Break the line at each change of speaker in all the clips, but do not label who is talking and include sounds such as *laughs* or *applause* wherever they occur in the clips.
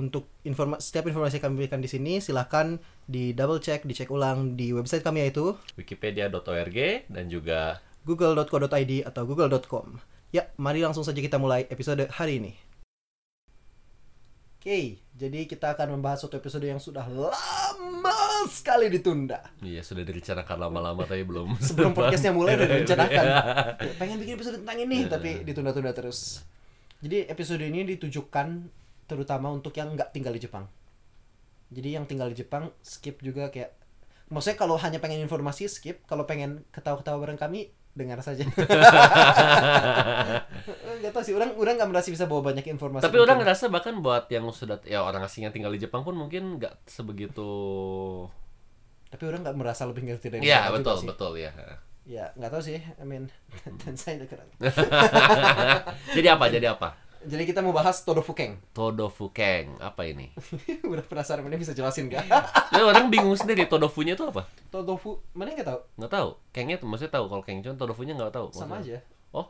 untuk informa setiap informasi yang kami berikan di sini silahkan di double check, dicek ulang di website kami yaitu
Wikipedia.org dan juga
google.co.id atau google.com. Ya, mari langsung saja kita mulai episode hari ini. Oke, jadi kita akan membahas suatu episode yang sudah lama sekali ditunda.
Iya sudah direncanakan lama-lama tapi belum
*laughs*
Iya.
Sebelum podcastnya mulai udah
*laughs*
direncanakan. Pengen bikin episode tentang ini, tapi ditunda-tunda terus. Jadi episode ini ditujukan terutama untuk yang nggak tinggal di Jepang. Jadi yang tinggal di Jepang, skip juga kayak... Maksudnya kalau hanya pengen informasi, skip. Kalau pengen ketawa-ketawa bareng kami, dengar
*laughs*
saja. Gak tau sih, orang orang nggak merasa bisa bawa banyak informasi.
tapi orang ngerasa bahkan buat yang sudah ya orang asing yang tinggal di Jepang pun mungkin nggak sebegitu
Tapi orang nggak merasa lebih ngerti dari
Iya *laughs*
orang juga
betul
sih.
betul ya
Ya, nggak tahu sih. I mean, *laughs* dan saya udah keren.
jadi apa jadi apa
Jadi kita mau bahas Todofukeng.
Todofu Keng apa ini
*laughs* udah penasaran, mana bisa jelasin gak?
ya, orang bingung sendiri Todofunya itu apa
Todofu, mana nggak tahu?
nggak tahu Kengnya tuh maksudnya tahu kalau Keng cuman Todofunya nggak tahu
Sama aja.
Maksudnya- oh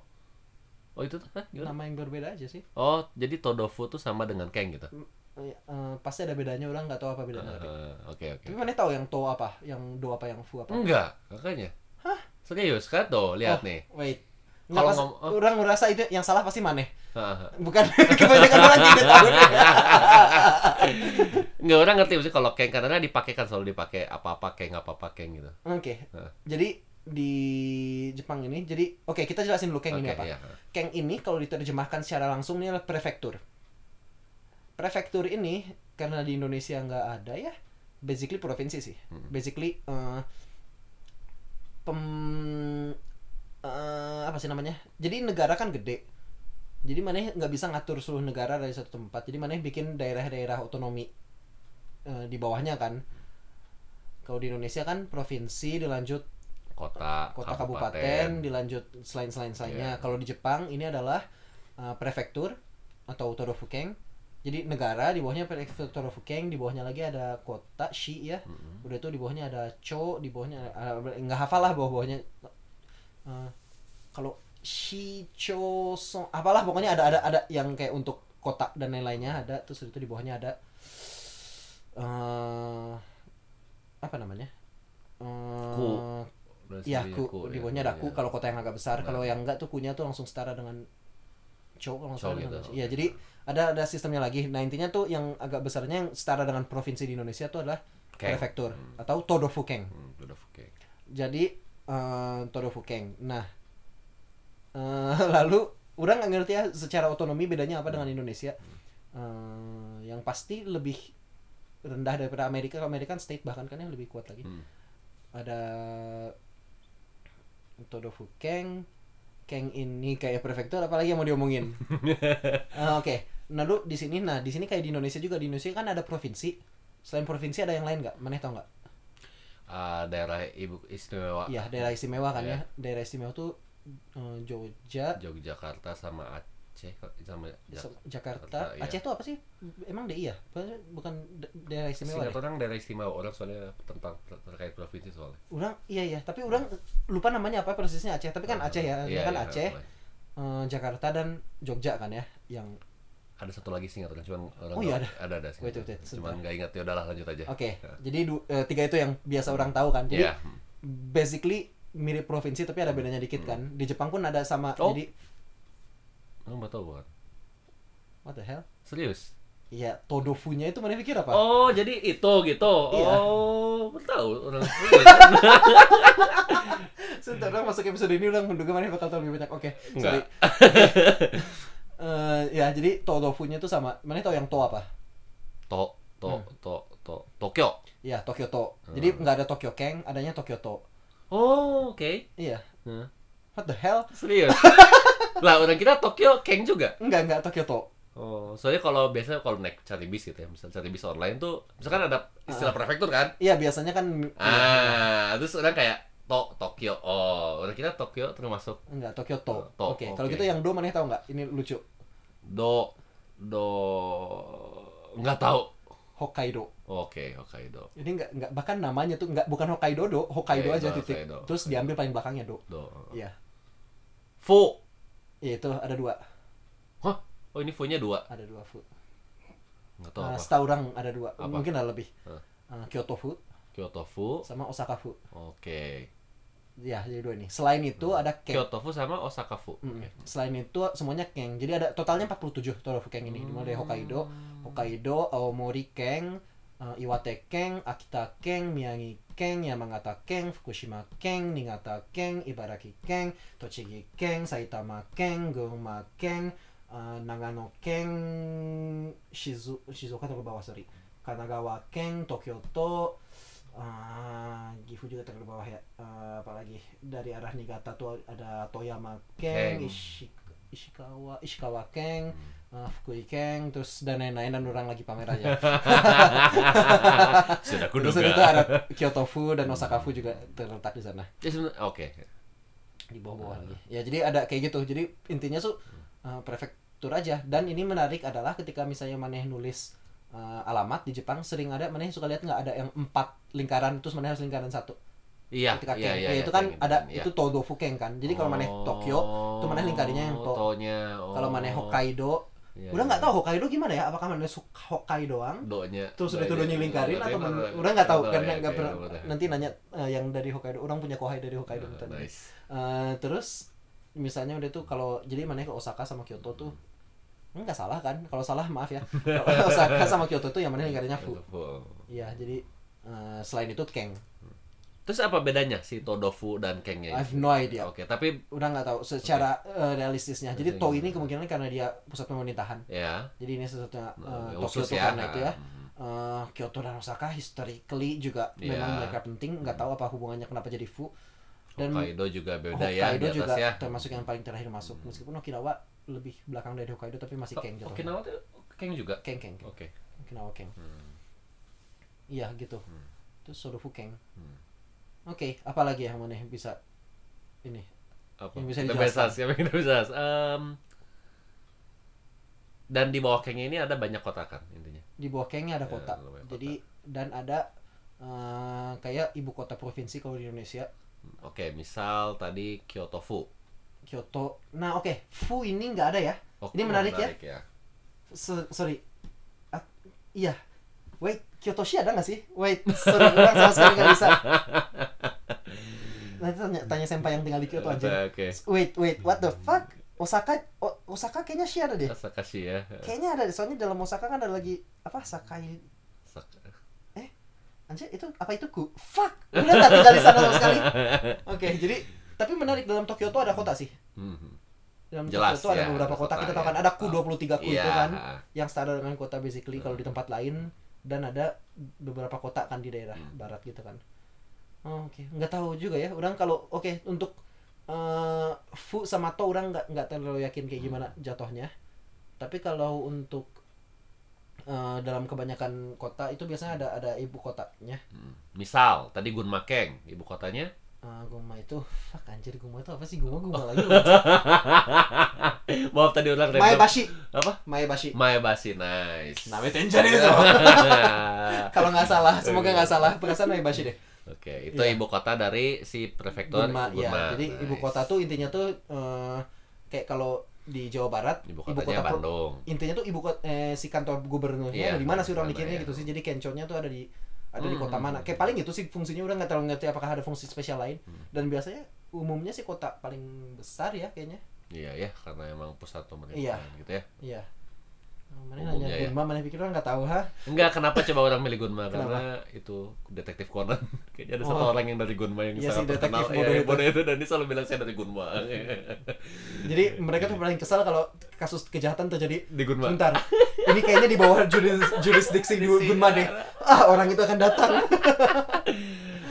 oh itu tuh Hah, gimana?
Nama yang berbeda aja sih.
oh jadi Todofu tuh sama dengan Keng gitu
M- eh, eh, pasti ada bedanya orang nggak tahu apa bedanya. tapi.
Eh, oke oke
Tapi mana tahu yang to apa, yang do apa, yang fu apa?
Enggak, makanya. Hah? Serius kan tuh, Hmm,
Oh,
lihat nih.
Wait.
Kalau
Nggak, pas,
ngom- oh.
orang merasa itu yang salah pasti
*laughs*
maneh.
Haha.
Bukan *laughs* kebanyakan orang tidak
*laughs*
tahu.
Iya. Enggak orang ngerti maksudnya kalau keng karena dipakai kan selalu dipakai apa-apa keng apa-apa keng gitu.
Oke.
Heeh.
Jadi di Jepang ini, jadi oke kita jelasin dulu keng ini
Oke,
apa.
iya.
Keng ini kalau diterjemahkan secara langsung ini adalah prefektur. Prefektur ini karena di Indonesia nggak ada ya, basically provinsi sih. Basically eh, pem eh, apa sih namanya? Jadi negara kan gede. Jadi mana nggak bisa ngatur seluruh negara dari satu tempat. Jadi mana bikin daerah-daerah otonomi eh, di bawahnya kan. Kalau di Indonesia kan provinsi dilanjut
Kota,
kota kabupaten, dilanjut selain selain selainnya
Iya.
kalau di Jepang ini adalah uh, prefektur atau torofukeng jadi negara di bawahnya prefektur torofukeng di bawahnya lagi ada kota shi ya
Mhm.
udah itu di bawahnya ada cho di bawahnya ada- ada- nggak hafal lah bawah bawahnya Uh, kalau shi cho song apalah pokoknya ada ada ada yang kayak untuk kota dan lain-lainnya ada terus itu di bawahnya ada eh apa namanya Eh,
Ku.
Iya, ku, di bawahnya ada ku
iya.
kalau kota yang agak besar.
Nah.
Kalau yang enggak tuh kunya tuh langsung setara dengan cowok kalau nggak
Chow
salah
gitu.
namanya. Iya, jadi ada ada sistemnya lagi. Nah, intinya tuh yang agak besarnya yang setara dengan provinsi di Indonesia tuh adalah
Keng.
prefektur atau todofukeng.
Hmm, Todofukeng.
Jadi eh todofukeng. Nah, eh, *laughs* lalu orang nggak ngerti ya secara otonomi bedanya
Hmm.
apa dengan Indonesia. Eh, yang pasti lebih rendah daripada Amerika. Kalau Amerika kan state bahkan kan yang lebih kuat lagi
Hmm.
ada Todofu Keng Keng ini kayak prefektur apalagi yang mau
*laughs*
diomongin Ah, oke nah lu di sini nah di sini kayak di Indonesia juga di Indonesia kan ada provinsi selain provinsi ada yang lain nggak mana tau nggak
Ah, daerah ibu istimewa
iya daerah istimewa kan
Iya.
ya daerah istimewa tuh eh, Jogja
Yogyakarta sama Aceh sama Jak-
Sa- Jakarta
iya.
Aceh tuh apa sih emang DI ya bukan da- daerah istimewa
Singkat
deh.
orang daerah istimewa orang soalnya tentang ter- terkait provinsi soalnya.
orang iya iya tapi orang lupa namanya apa persisnya Aceh tapi kan Aceh ya
Iya,
kan
iya,
Aceh eh, Jakarta dan Jogja kan ya yang
ada satu lagi singkat orang cuman orang
Oh, iya,
nggak- ada ada, singkat
Wait, wait, wait,
orang.
sebentar.
cuman nggak ingat ya udahlah lanjut aja Ya.
Oke, jadi du- eh, tiga itu yang biasa orang tahu kan. Jadi
Iya.
basically mirip provinsi tapi ada bedanya dikit kan. Di Jepang pun ada sama.
Hmm. Oh.
Jadi
Lo nggak tahu bukan?
what the hell?
Serius?
Iya, todofunya itu mana pikir apa?
Oh, jadi itu gitu.
Iya.
Oh, nggak tahu
*laughs*
orang.
*laughs* Sebentar, orang masuk episode ini orang menduga mana bakal tahu lebih banyak. Oke, sorry.
Enggak.
*laughs* Eh, ya, jadi todofunya itu sama. Mana tahu yang to apa?
To, to,
Hmm.
to, to, Tokyo.
Iya, Tokyo to.
Hmm.
Jadi nggak ada Tokyo Keng, adanya Tokyo to.
Oh, oke.
Iya.
Hah?
What the hell?
Serius? *laughs* lah orang kita Tokyo Keng juga.
Enggak, enggak Tokyo to.
Oh, soalnya kalau biasanya kalau naik cari bis gitu ya, misalnya cari bis online tuh, misalkan ada istilah prefektur kan?
Iya biasanya kan
Ah, terus orang kayak to Tokyo. Oh, orang kira Tokyo termasuk
enggak Tokyo to.
To,
Oke, kalau
oke.
gitu yang do mana tahu nggak? Ini lucu.
do do nggak tahu.
Hokkaido.
Oke, Hokkaido.
Ini nggak nggak bahkan namanya tuh nggak bukan Hokkaido do, Hokkaido
Iya,
aja
iya,
titik.
Hokkaido. Oh.
Terus diambil paling belakangnya do.
Do.
Iya.
Fu.
Iya itu ada dua,
Hah? Oh, ini fu-nya dua.
ada dua food.
Nggak tahu
Nah,
apa.
setahu orang ada dua,
Apa?
mungkin ada lebih.
Hah.
Eh, Kyoto food
Kyoto fu.
sama Osaka food.
Oke.
Ya, jadi dua ini. Selain itu ada cake.
Hmm. Kyoto fu sama Osaka fu.
Mm.
Oke.
Selain itu semuanya keng. Jadi ada totalnya 47 tofu keng ini. Dimulai
Hmm.
dari Hokkaido, Hokkaido, Aomori keng, eh, Iwate keng, Akita keng, Miyagi keng, Yamagata keng, Fukushima keng, Niigata keng, Ibaraki keng, Tochigi keng, Saitama keng, Gunma keng, eh, Nagano keng, Shizu Shizuoka terlalu bawah sorry. Kanagawa keng, Tokyo to, eh, Gifu juga terlalu bawah ya. Eh, apalagi dari arah Niigata tuh ada Toyama keng,
Keng.
Ishik- Ishikawa, Ishikawa keng, eh, Fukui keng, terus dan lain-lain dan orang lagi pamer aja.
*laughs* Sudah
terus
kuduga.
itu ada Kyoto Fu dan Osaka Fu juga terletak di sana
Ya, sebenar- Oke.
di bawah-bawah lagi. Ya jadi ada kayak gitu. Jadi intinya tuh eh, prefektur aja. Dan ini menarik adalah ketika misalnya maneh nulis eh, alamat di Jepang sering ada maneh suka lihat nggak ada yang empat lingkaran terus maneh harus lingkaran satu.
Iya,
ketika
iya,
keng.
iya.
Ya,
iya,
itu kan
keng,
ada
iya.
itu Todofu keng kan. Jadi kalau maneh Tokyo itu maneh lingkarannya yang
Oh,
to.
to-nya. Oh.
Kalau maneh Hokkaido,
Iya,
udah
iya.
nggak tahu Hokkaido gimana ya? Apakah maneh su- Hokkaido doang?
Do-nya.
terus udah
Do-nya.
tuh doanya lingkarin atau
Do-nya,
men-
do-nya.
orang nggak tahu
Do-nya,
karena
oke,
nggak Nah, pernah
do-nya.
nanti nanya eh, yang dari Hokkaido orang punya kohai dari Hokkaido
Ah,
tadi.
nice.
Eh, terus misalnya udah tuh kalau jadi mana ke Osaka sama Kyoto tuh nggak salah kan kalau salah maaf ya
*laughs*
kalau Osaka sama Kyoto tuh yang mana lingkarannya fu ya jadi eh, selain itu keng
Terus apa bedanya si Todofu dan Kengnya?
I've
itu?
no idea
Iya. Oke, Iya, tapi
udah nggak tahu secara eh, realistisnya jadi
Oke,
to
gimana?
ini kemungkinan karena dia pusat pemerintahan
ya
jadi ini sesuatu eh,
Nah,
Tokyo tuh
khusus ya.
karena itu ya
Hmm.
Eh, Kyoto dan Osaka historically juga
Iya.
memang mereka penting nggak tahu apa hubungannya kenapa jadi fu dan
Hokkaido juga beda ya di
Hokkaido
atas
juga
ya.
termasuk yang paling terakhir masuk meskipun Okinawa lebih belakang dari Hokkaido tapi masih keng
Oh,
jatuhnya
Okinawa Hmm. tuh Keng juga.
keng keng keng.
Oke.
Okinawa keng iya gitu terus Sorofu keng
Hmm.
oke apalagi yang mana yang bisa ini
Apa?
Yang bisa
Kita
dijelaskan.
bahas, yang kita bahas. Em, dan di bawah Kengnya ini ada banyak kota kan intinya.
di bawah kengnya ada
Ya,
kota
lumayan kota.
jadi dan ada eh, kayak ibu kota provinsi kalau di Indonesia
Oke, misal tadi Kyoto Fu.
Kyoto nah oke Fu ini nggak ada ya
Oke,
Ini menarik ya.
ya.
So- sorry Ah, iya wait Kyotoshi ada nggak sih wait sorry orang sama sekali nggak bisa nanti tanya tanya senpai yang tinggal di Kyoto aja
Oke.
Wait, wait, what the fuck? Osaka, O- Osaka kayaknya sih ada deh.
Sakashi ya.
Kayaknya ada deh, soalnya dalam Osaka kan ada lagi apa Sakai.
Sak-
Anjir, itu apa itu ku? Fuck, udah nggak tinggal di sana sama sekali. Oke, jadi tapi menarik dalam Tokyo tuh ada kota sih.
Hmm.
Dalam
Jelas
Tokyo tuh ada
ya,
beberapa
ada
kota,
kota,
kita
ya.
tahu kan ada ku
Tahu.
23 ku itu
Iya.
kan yang setara dengan kota basically kalau di tempat lain dan ada beberapa kota kan di daerah barat gitu kan. Oh, oke, nggak tahu juga ya. Orang kalau oke untuk eh, fu sama to orang nggak nggak terlalu yakin kayak gimana jatuhnya. Tapi kalau untuk eh, dalam kebanyakan kota itu biasanya ada ada ibu kotanya.
Hmm. Misal tadi Gunma Keng, ibu kotanya
Eh, Guma itu fuck anjir Guma itu apa sih Guma Guma lagi
*laughs* Maaf tadi ulang random.
Maebashi
Apa?
Maebashi
Maebashi, nice. *laughs*
Name Tenjin itu *laughs* kalau nggak salah semoga nggak salah perasaan Maebashi deh
Oke, itu
Iya.
ibu kota dari si prefektur
Gunma, ya.
Gunma.
Jadi
Nice.
ibu kota tuh intinya tuh eh, kayak kalau di Jawa Barat,
ibu kotanya
pro-
Bandung.
intinya tuh ibu kota eh, si kantor gubernurnya
Iya,
ada di mana sih
di
orang
sana,
mikirnya
iya.
gitu sih. Jadi kenconya tuh ada di ada di
Hmm.
kota mana. Kayak paling gitu sih fungsinya udah nggak terlalu ngerti apakah ada fungsi spesial lain.
Hmm.
Dan biasanya umumnya sih kota paling besar ya kayaknya.
Iya ya, karena emang pusat pemerintahan
Iya.
gitu ya.
Iya. Nah, Mana
Umumnya
nanya
ya.
Gunma, mana pikir orang nggak tahu ha?
Enggak, kenapa coba orang milih Gunma? Karena itu detektif Conan. *laughs* Kayaknya ada satu
Oh.
orang yang dari Gunma yang
Iya sih,
sangat terkenal.
detektif bodoh
Iya,
itu.
bodoh itu. Dan dia selalu bilang saya dari
*laughs*
Gunma. *laughs*
Jadi mereka tuh paling kesal kalau kasus kejahatan terjadi
Di Gunma.
Bentar, ini kayaknya di bawah juris, jurisdiksi di Gunma deh. Ah, orang itu akan datang.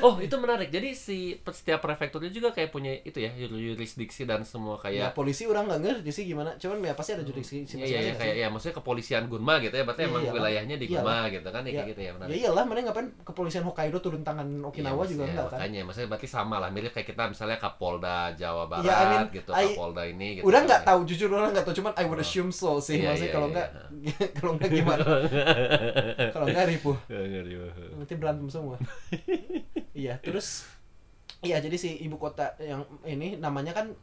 Oh itu menarik. Jadi si pe- setiap prefekturnya juga kayak punya itu ya jur- yurisdiksi dan semua
Ya,
kayak
polisi orang nggak ngerti sih gimana. Cuman ya pasti ada jurisdiksi
Iya, iya,
masing-masing
iya, kayak ya maksudnya kepolisian Gunma gitu ya, berarti
Iya,
emang
iya.
wilayahnya di
Iya.
Gunma gitu kan ya, kayak
Iya.
gitu
nggak
ya
sih?
menarik.
Ya iyalah, mending ngapain kepolisian Hokkaido turun tangan Okinawa
Iya,
juga
iya,
enggak kan?
Makanya, maksudnya berarti sama lah, mirip kayak kita misalnya Kapolda Jawa Barat
Iya, I mean,
gitu,
I-
Kapolda ini gitu.
Udah nggak
*laughs*
tahu jujur orang nggak tahu cuman I would assume so sih
Iya,
maksudnya
iya,
kalau
iya,
nggak *laughs* kalau nggak
*laughs*
gimana kalau nggak ribu nanti berantem
*laughs*
semua iya terus iya jadi si ibu kota yang ini namanya kan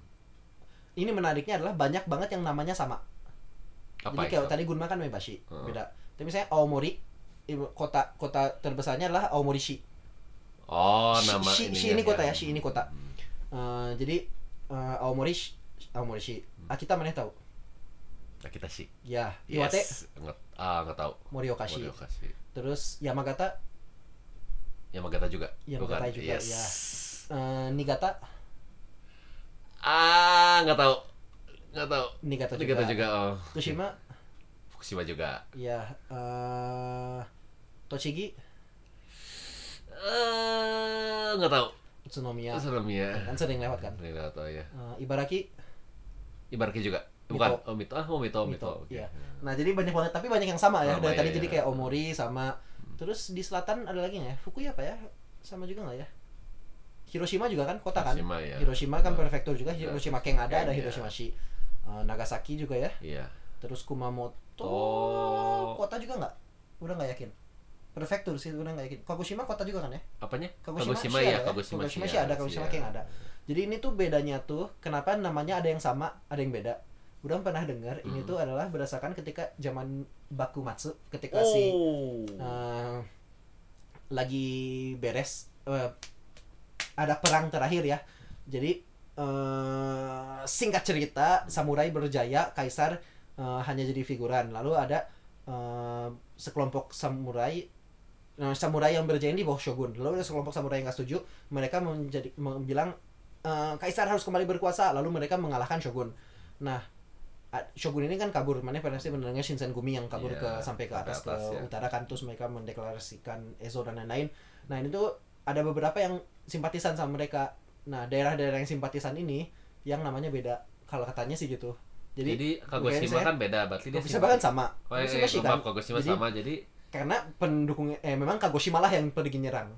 ini menariknya adalah banyak banget yang namanya sama
Apa
jadi kayak
itu? Oh.
tadi Gunma kan Maebashi
Heeh.
beda tapi misalnya Aomori ibu kota kota terbesarnya adalah Aomori-shi
Oh,
Shi-
nama Iya.
shi, shi ini kota ya, shi ini kota. Eh, jadi eh, Aomori shi- Aomori shi Akita mana tahu
Ah, Kita sih.
ya Iwate
Hmm. Yes. Nggak, ah, nggak tahu.
Moriokashi
Moriokashi.
terus Yamagata
Yamagata Ya, juga.
Yamagata
bukan?
juga,
yes.
iya. eh, Niigata
Ah, nggak tahu. Nggak tahu.
Niigata juga,
Nigata juga. Oh.
Tsushima
Fukushima juga.
ya eh, Tochigi
Eh, nggak tahu.
Utsunomiya
Serem ya.
kan sering lewat kan
Ini nggak tahu ya.
Eh, Ibaraki
Ibaraki juga. Bukan.
Mito.
Oh, Mito. Ah, oh, Mito, Mito.
Mito,
Oke.
iya. Nah, jadi banyak banget tapi banyak yang sama ya.
Sama,
Dari
iya,
tadi jadi
iya. Hmm.
kayak Omori sama terus di selatan ada lagi nggak ya? Fukuya apa ya? Sama juga nggak ya? Hiroshima juga kan kota kan?
Hiroshima, ya.
Hiroshima kan prefektur juga.
Ya.
Hiroshima Ken ada, ada
Iya.
Hiroshima Shi. Eh, Nagasaki juga ya.
Iya.
Terus Kumamoto
Oh.
kota juga nggak? Udah nggak yakin. Prefektur sih udah nggak yakin. Kagoshima kota juga kan ya?
Apanya?
Kagoshima,
Kagoshima
Shi
ya,
ada
Kagoshima
Kagoshima
Shi
Shi ada,
ada,
Kagoshima
iya.
Ken ada. Jadi ini tuh bedanya tuh kenapa namanya ada yang sama, ada yang beda. Udah pernah dengar ini
Hmm.
tuh adalah berdasarkan ketika zaman Bakumatsu
Oh,
ketika si eh, lagi beres eh, ada perang terakhir ya. Jadi eh, singkat cerita samurai berjaya, kaisar eh, hanya jadi figuran. Lalu ada eh, sekelompok samurai eh, samurai yang berjaya di bawah shogun. Lalu ada sekelompok samurai yang nggak setuju, mereka menjadi bilang kaisar harus kembali berkuasa. Lalu mereka mengalahkan shogun. Nah, a- shogun ini kan kabur. Mana pasti mendengar Shinsengumi yang kabur
Iya,
ke sampai ke
sampai
atas,
atas,
ke
ya.
utara kan terus mereka mendeklarasikan Ezo dan lain-lain. Nah, ini tuh ada beberapa yang simpatisan sama mereka. Nah, daerah-daerah yang simpatisan ini yang namanya beda kalau katanya sih gitu.
Jadi,
Jadi, makanya
Kagoshima kan beda, berarti dia
Kagoshima kan sama.
Oh, iya,
Kagoshima
iya,
sih kan.
maaf, Kagoshima
Jadi-
sama. Jadi
Karena pendukungnya eh memang Kagoshima lah yang pergi nyerang.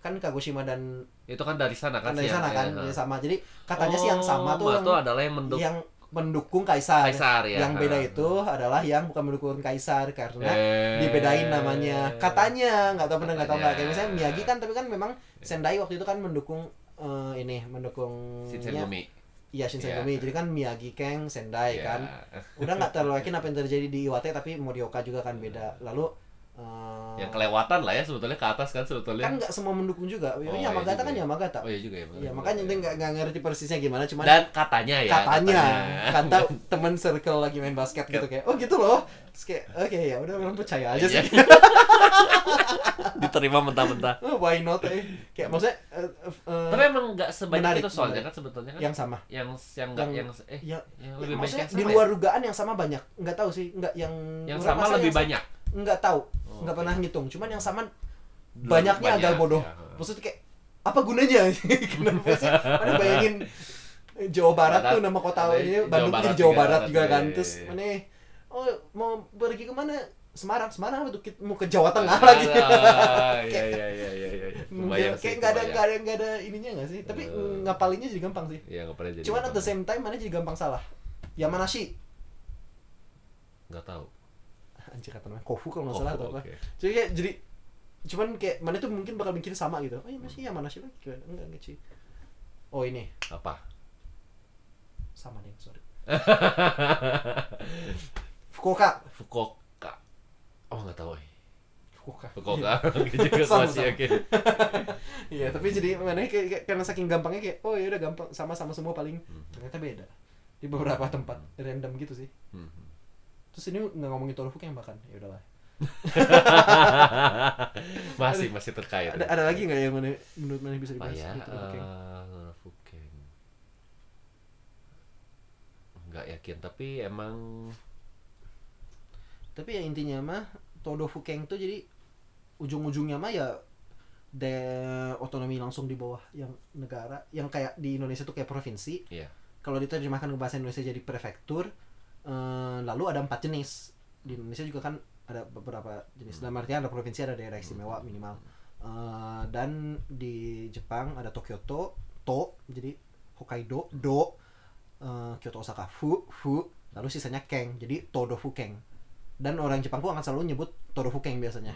Kan Kagoshima dan
itu kan dari sana kan?
kan dari
sih yang-
sana kan
iya,
dia
iya.
sama. Jadi katanya sih yang sama tuh
Oh,
yang, Iya,
Mato adalah yang menduk
yang mendukung Kaisar.
Kaisar ya.
Yang beda
Ha.
itu adalah yang bukan mendukung Kaisar karena
Eh.
dibedain namanya katanya nggak tahu pernah nggak tahu nggak kayak
Katanya.
misalnya Miyagi kan tapi kan memang Sendai waktu itu kan mendukung eh, ini mendukung
Shinsengumi.
iya Shinsengumi
Iya.
jadi kan Miyagi Keng Sendai
Iya.
kan udah nggak terlalu yakin apa yang terjadi di Iwate tapi Morioka juga kan beda lalu eh,
Yang kelewatan lah Hmm. ya sebetulnya ke atas kan sebetulnya.
kan nggak semua mendukung juga
Oh, iya
Yamagata
juga
kan
ya.
Yamagata
oh iya juga ya. benar.
Iya, makanya dia nggak nggak ngerti persisnya gimana cuman
Dan katanya ya.
katanya
*laughs*
kata *laughs* temen circle lagi main basket gitu kayak oh gitu loh Terus kayak oke ya udah orang percaya aja sih
Iya. *laughs* Diterima mentah-mentah.
Oh, why not eh. Kayak maksudnya eh, eh,
Tapi emang nggak sebanyak
Menarik,
itu soalnya
menarik.
kan sebetulnya kan.
yang sama.
yang yang nggak yang,
yang-
eh
Ya, ya,
yang lebih banyak
maksudnya
yang
di
sama
luar
ya?
dugaan yang sama banyak. Nggak tahu sih, nggak yang
yang
orang
sama
rasa
lebih
yang
banyak.
sa- Nggak tahu,
Oh,
nggak
oke.
pernah ngitung. Cuman yang sama
Lebih
banyaknya
banyak,
agak bodoh.
ya.
Maksudnya kayak apa gunanya? *laughs* Kenapa sih? Mana bayangin eh, Jawa Barat
Barat,
tuh nama kota
ada
ini
Jawa
Bandung
Barat
jadi Jawa
juga,
Barat
ada
juga
tuh,
kan.
iya, iya,
Terus
iya.
mana oh mau pergi kemana? Semarang, Semarang apa tuh? Kita Mau ke Jawa Tengah
Ah,
lagi.
Iya iya iya iya iya.
Mungkin
Kebayang sih,
kayak nggak ada
kebayang.
nggak ada nggak ada ininya nggak sih? Tapi
Eh.
ngapalinnya jadi gampang sih.
Iya nggak pernah jadi.
Cuman at the same time mana jadi gampang salah. Yamanashi
Nggak tahu.
anjir kata namanya Kofu kalau nggak salah
Kofu,
atau apa.
oke.
Jadi kayak jadi cuman kayak mana tuh mungkin bakal mikir sama gitu. Oh, ya masih Yamanashi lagi kan? Enggak enggak sih. Oh, ini
Apa? *laughs*
sama nih, sorry. Fukuoka.
Fukuoka. Oh nggak tahu. eh.
Fukuoka.
Fukuoka. *laughs* Oke, juga
Iya. Sama,
masih
sama.
oke.
*laughs* Iya, tapi jadi mana kayak, kayak- karena saking gampangnya kayak oh ya udah gampang sama-sama semua paling
Hmm.
ternyata beda. Di beberapa tempat random gitu sih. *laughs*
Mhm.
Terus ini nggak ngomongin Tolfuk yang makan. Ya udahlah.
*laughs* Masih masih terkait.
Ada ada lagi nggak yang mana menurut mana bisa
apa
dibahas?
ya?
Gitu, Tolfuk yang-
Iya, Eh, Fukeng. Nggak yakin tapi emang
tapi ya intinya mah Todo Fukeng tuh jadi ujung-ujungnya mah ya de otonomi langsung di bawah yang negara yang kayak di Indonesia tuh kayak provinsi
Iya.
kalau diterjemahkan ke bahasa Indonesia jadi prefektur eh, lalu ada empat jenis di Indonesia juga kan ada beberapa jenis
Hmm.
dalam artian ada provinsi ada daerah istimewa minimal Eh, dan di Jepang ada Tokyoto to jadi Hokkaido do eh, Kyoto Osaka fu fu lalu sisanya keng jadi todofu keng dan orang Jepang tuh akan selalu nyebut todofu keng biasanya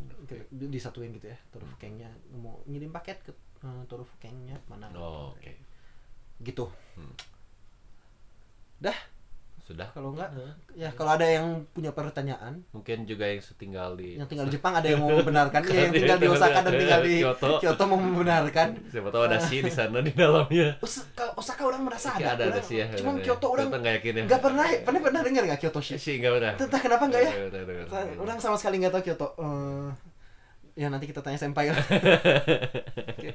Hmm.
Gitu, disatuin gitu ya todofu kengnya mau ngirim paket ke eh, todofu kengnya mana
Oh, Oke.
gitu
Hmm.
dah
Sudah.
kalau enggak ya kalau ada yang punya pertanyaan
Mungkin juga yang setinggal di
yang tinggal di Jepang ada
*laughs*
yang mau membenarkan ya yang tinggal di Osaka dan tinggal di
Kyoto.
Kyoto mau
*laughs*
membenarkan
siapa tahu ada si di sana di dalamnya.
Os- kalau Osaka orang merasa ada,
Kayak ada ada
Orang-
sih ya.
cuman
ada.
Kyoto orang
nggak yakin ya. Iya
nggak pernah pernah pernah dengar nggak Kyoto sih
Sih nggak pernah.
entah kenapa nggak ya
Nggak pernah, nggak pernah.
orang sama sekali nggak tahu Kyoto Eh, ya nanti kita tanya
*laughs*
senpai lah Oke.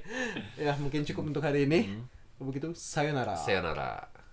ya mungkin cukup untuk hari ini begitu sayonara
Hmm. Sayonara.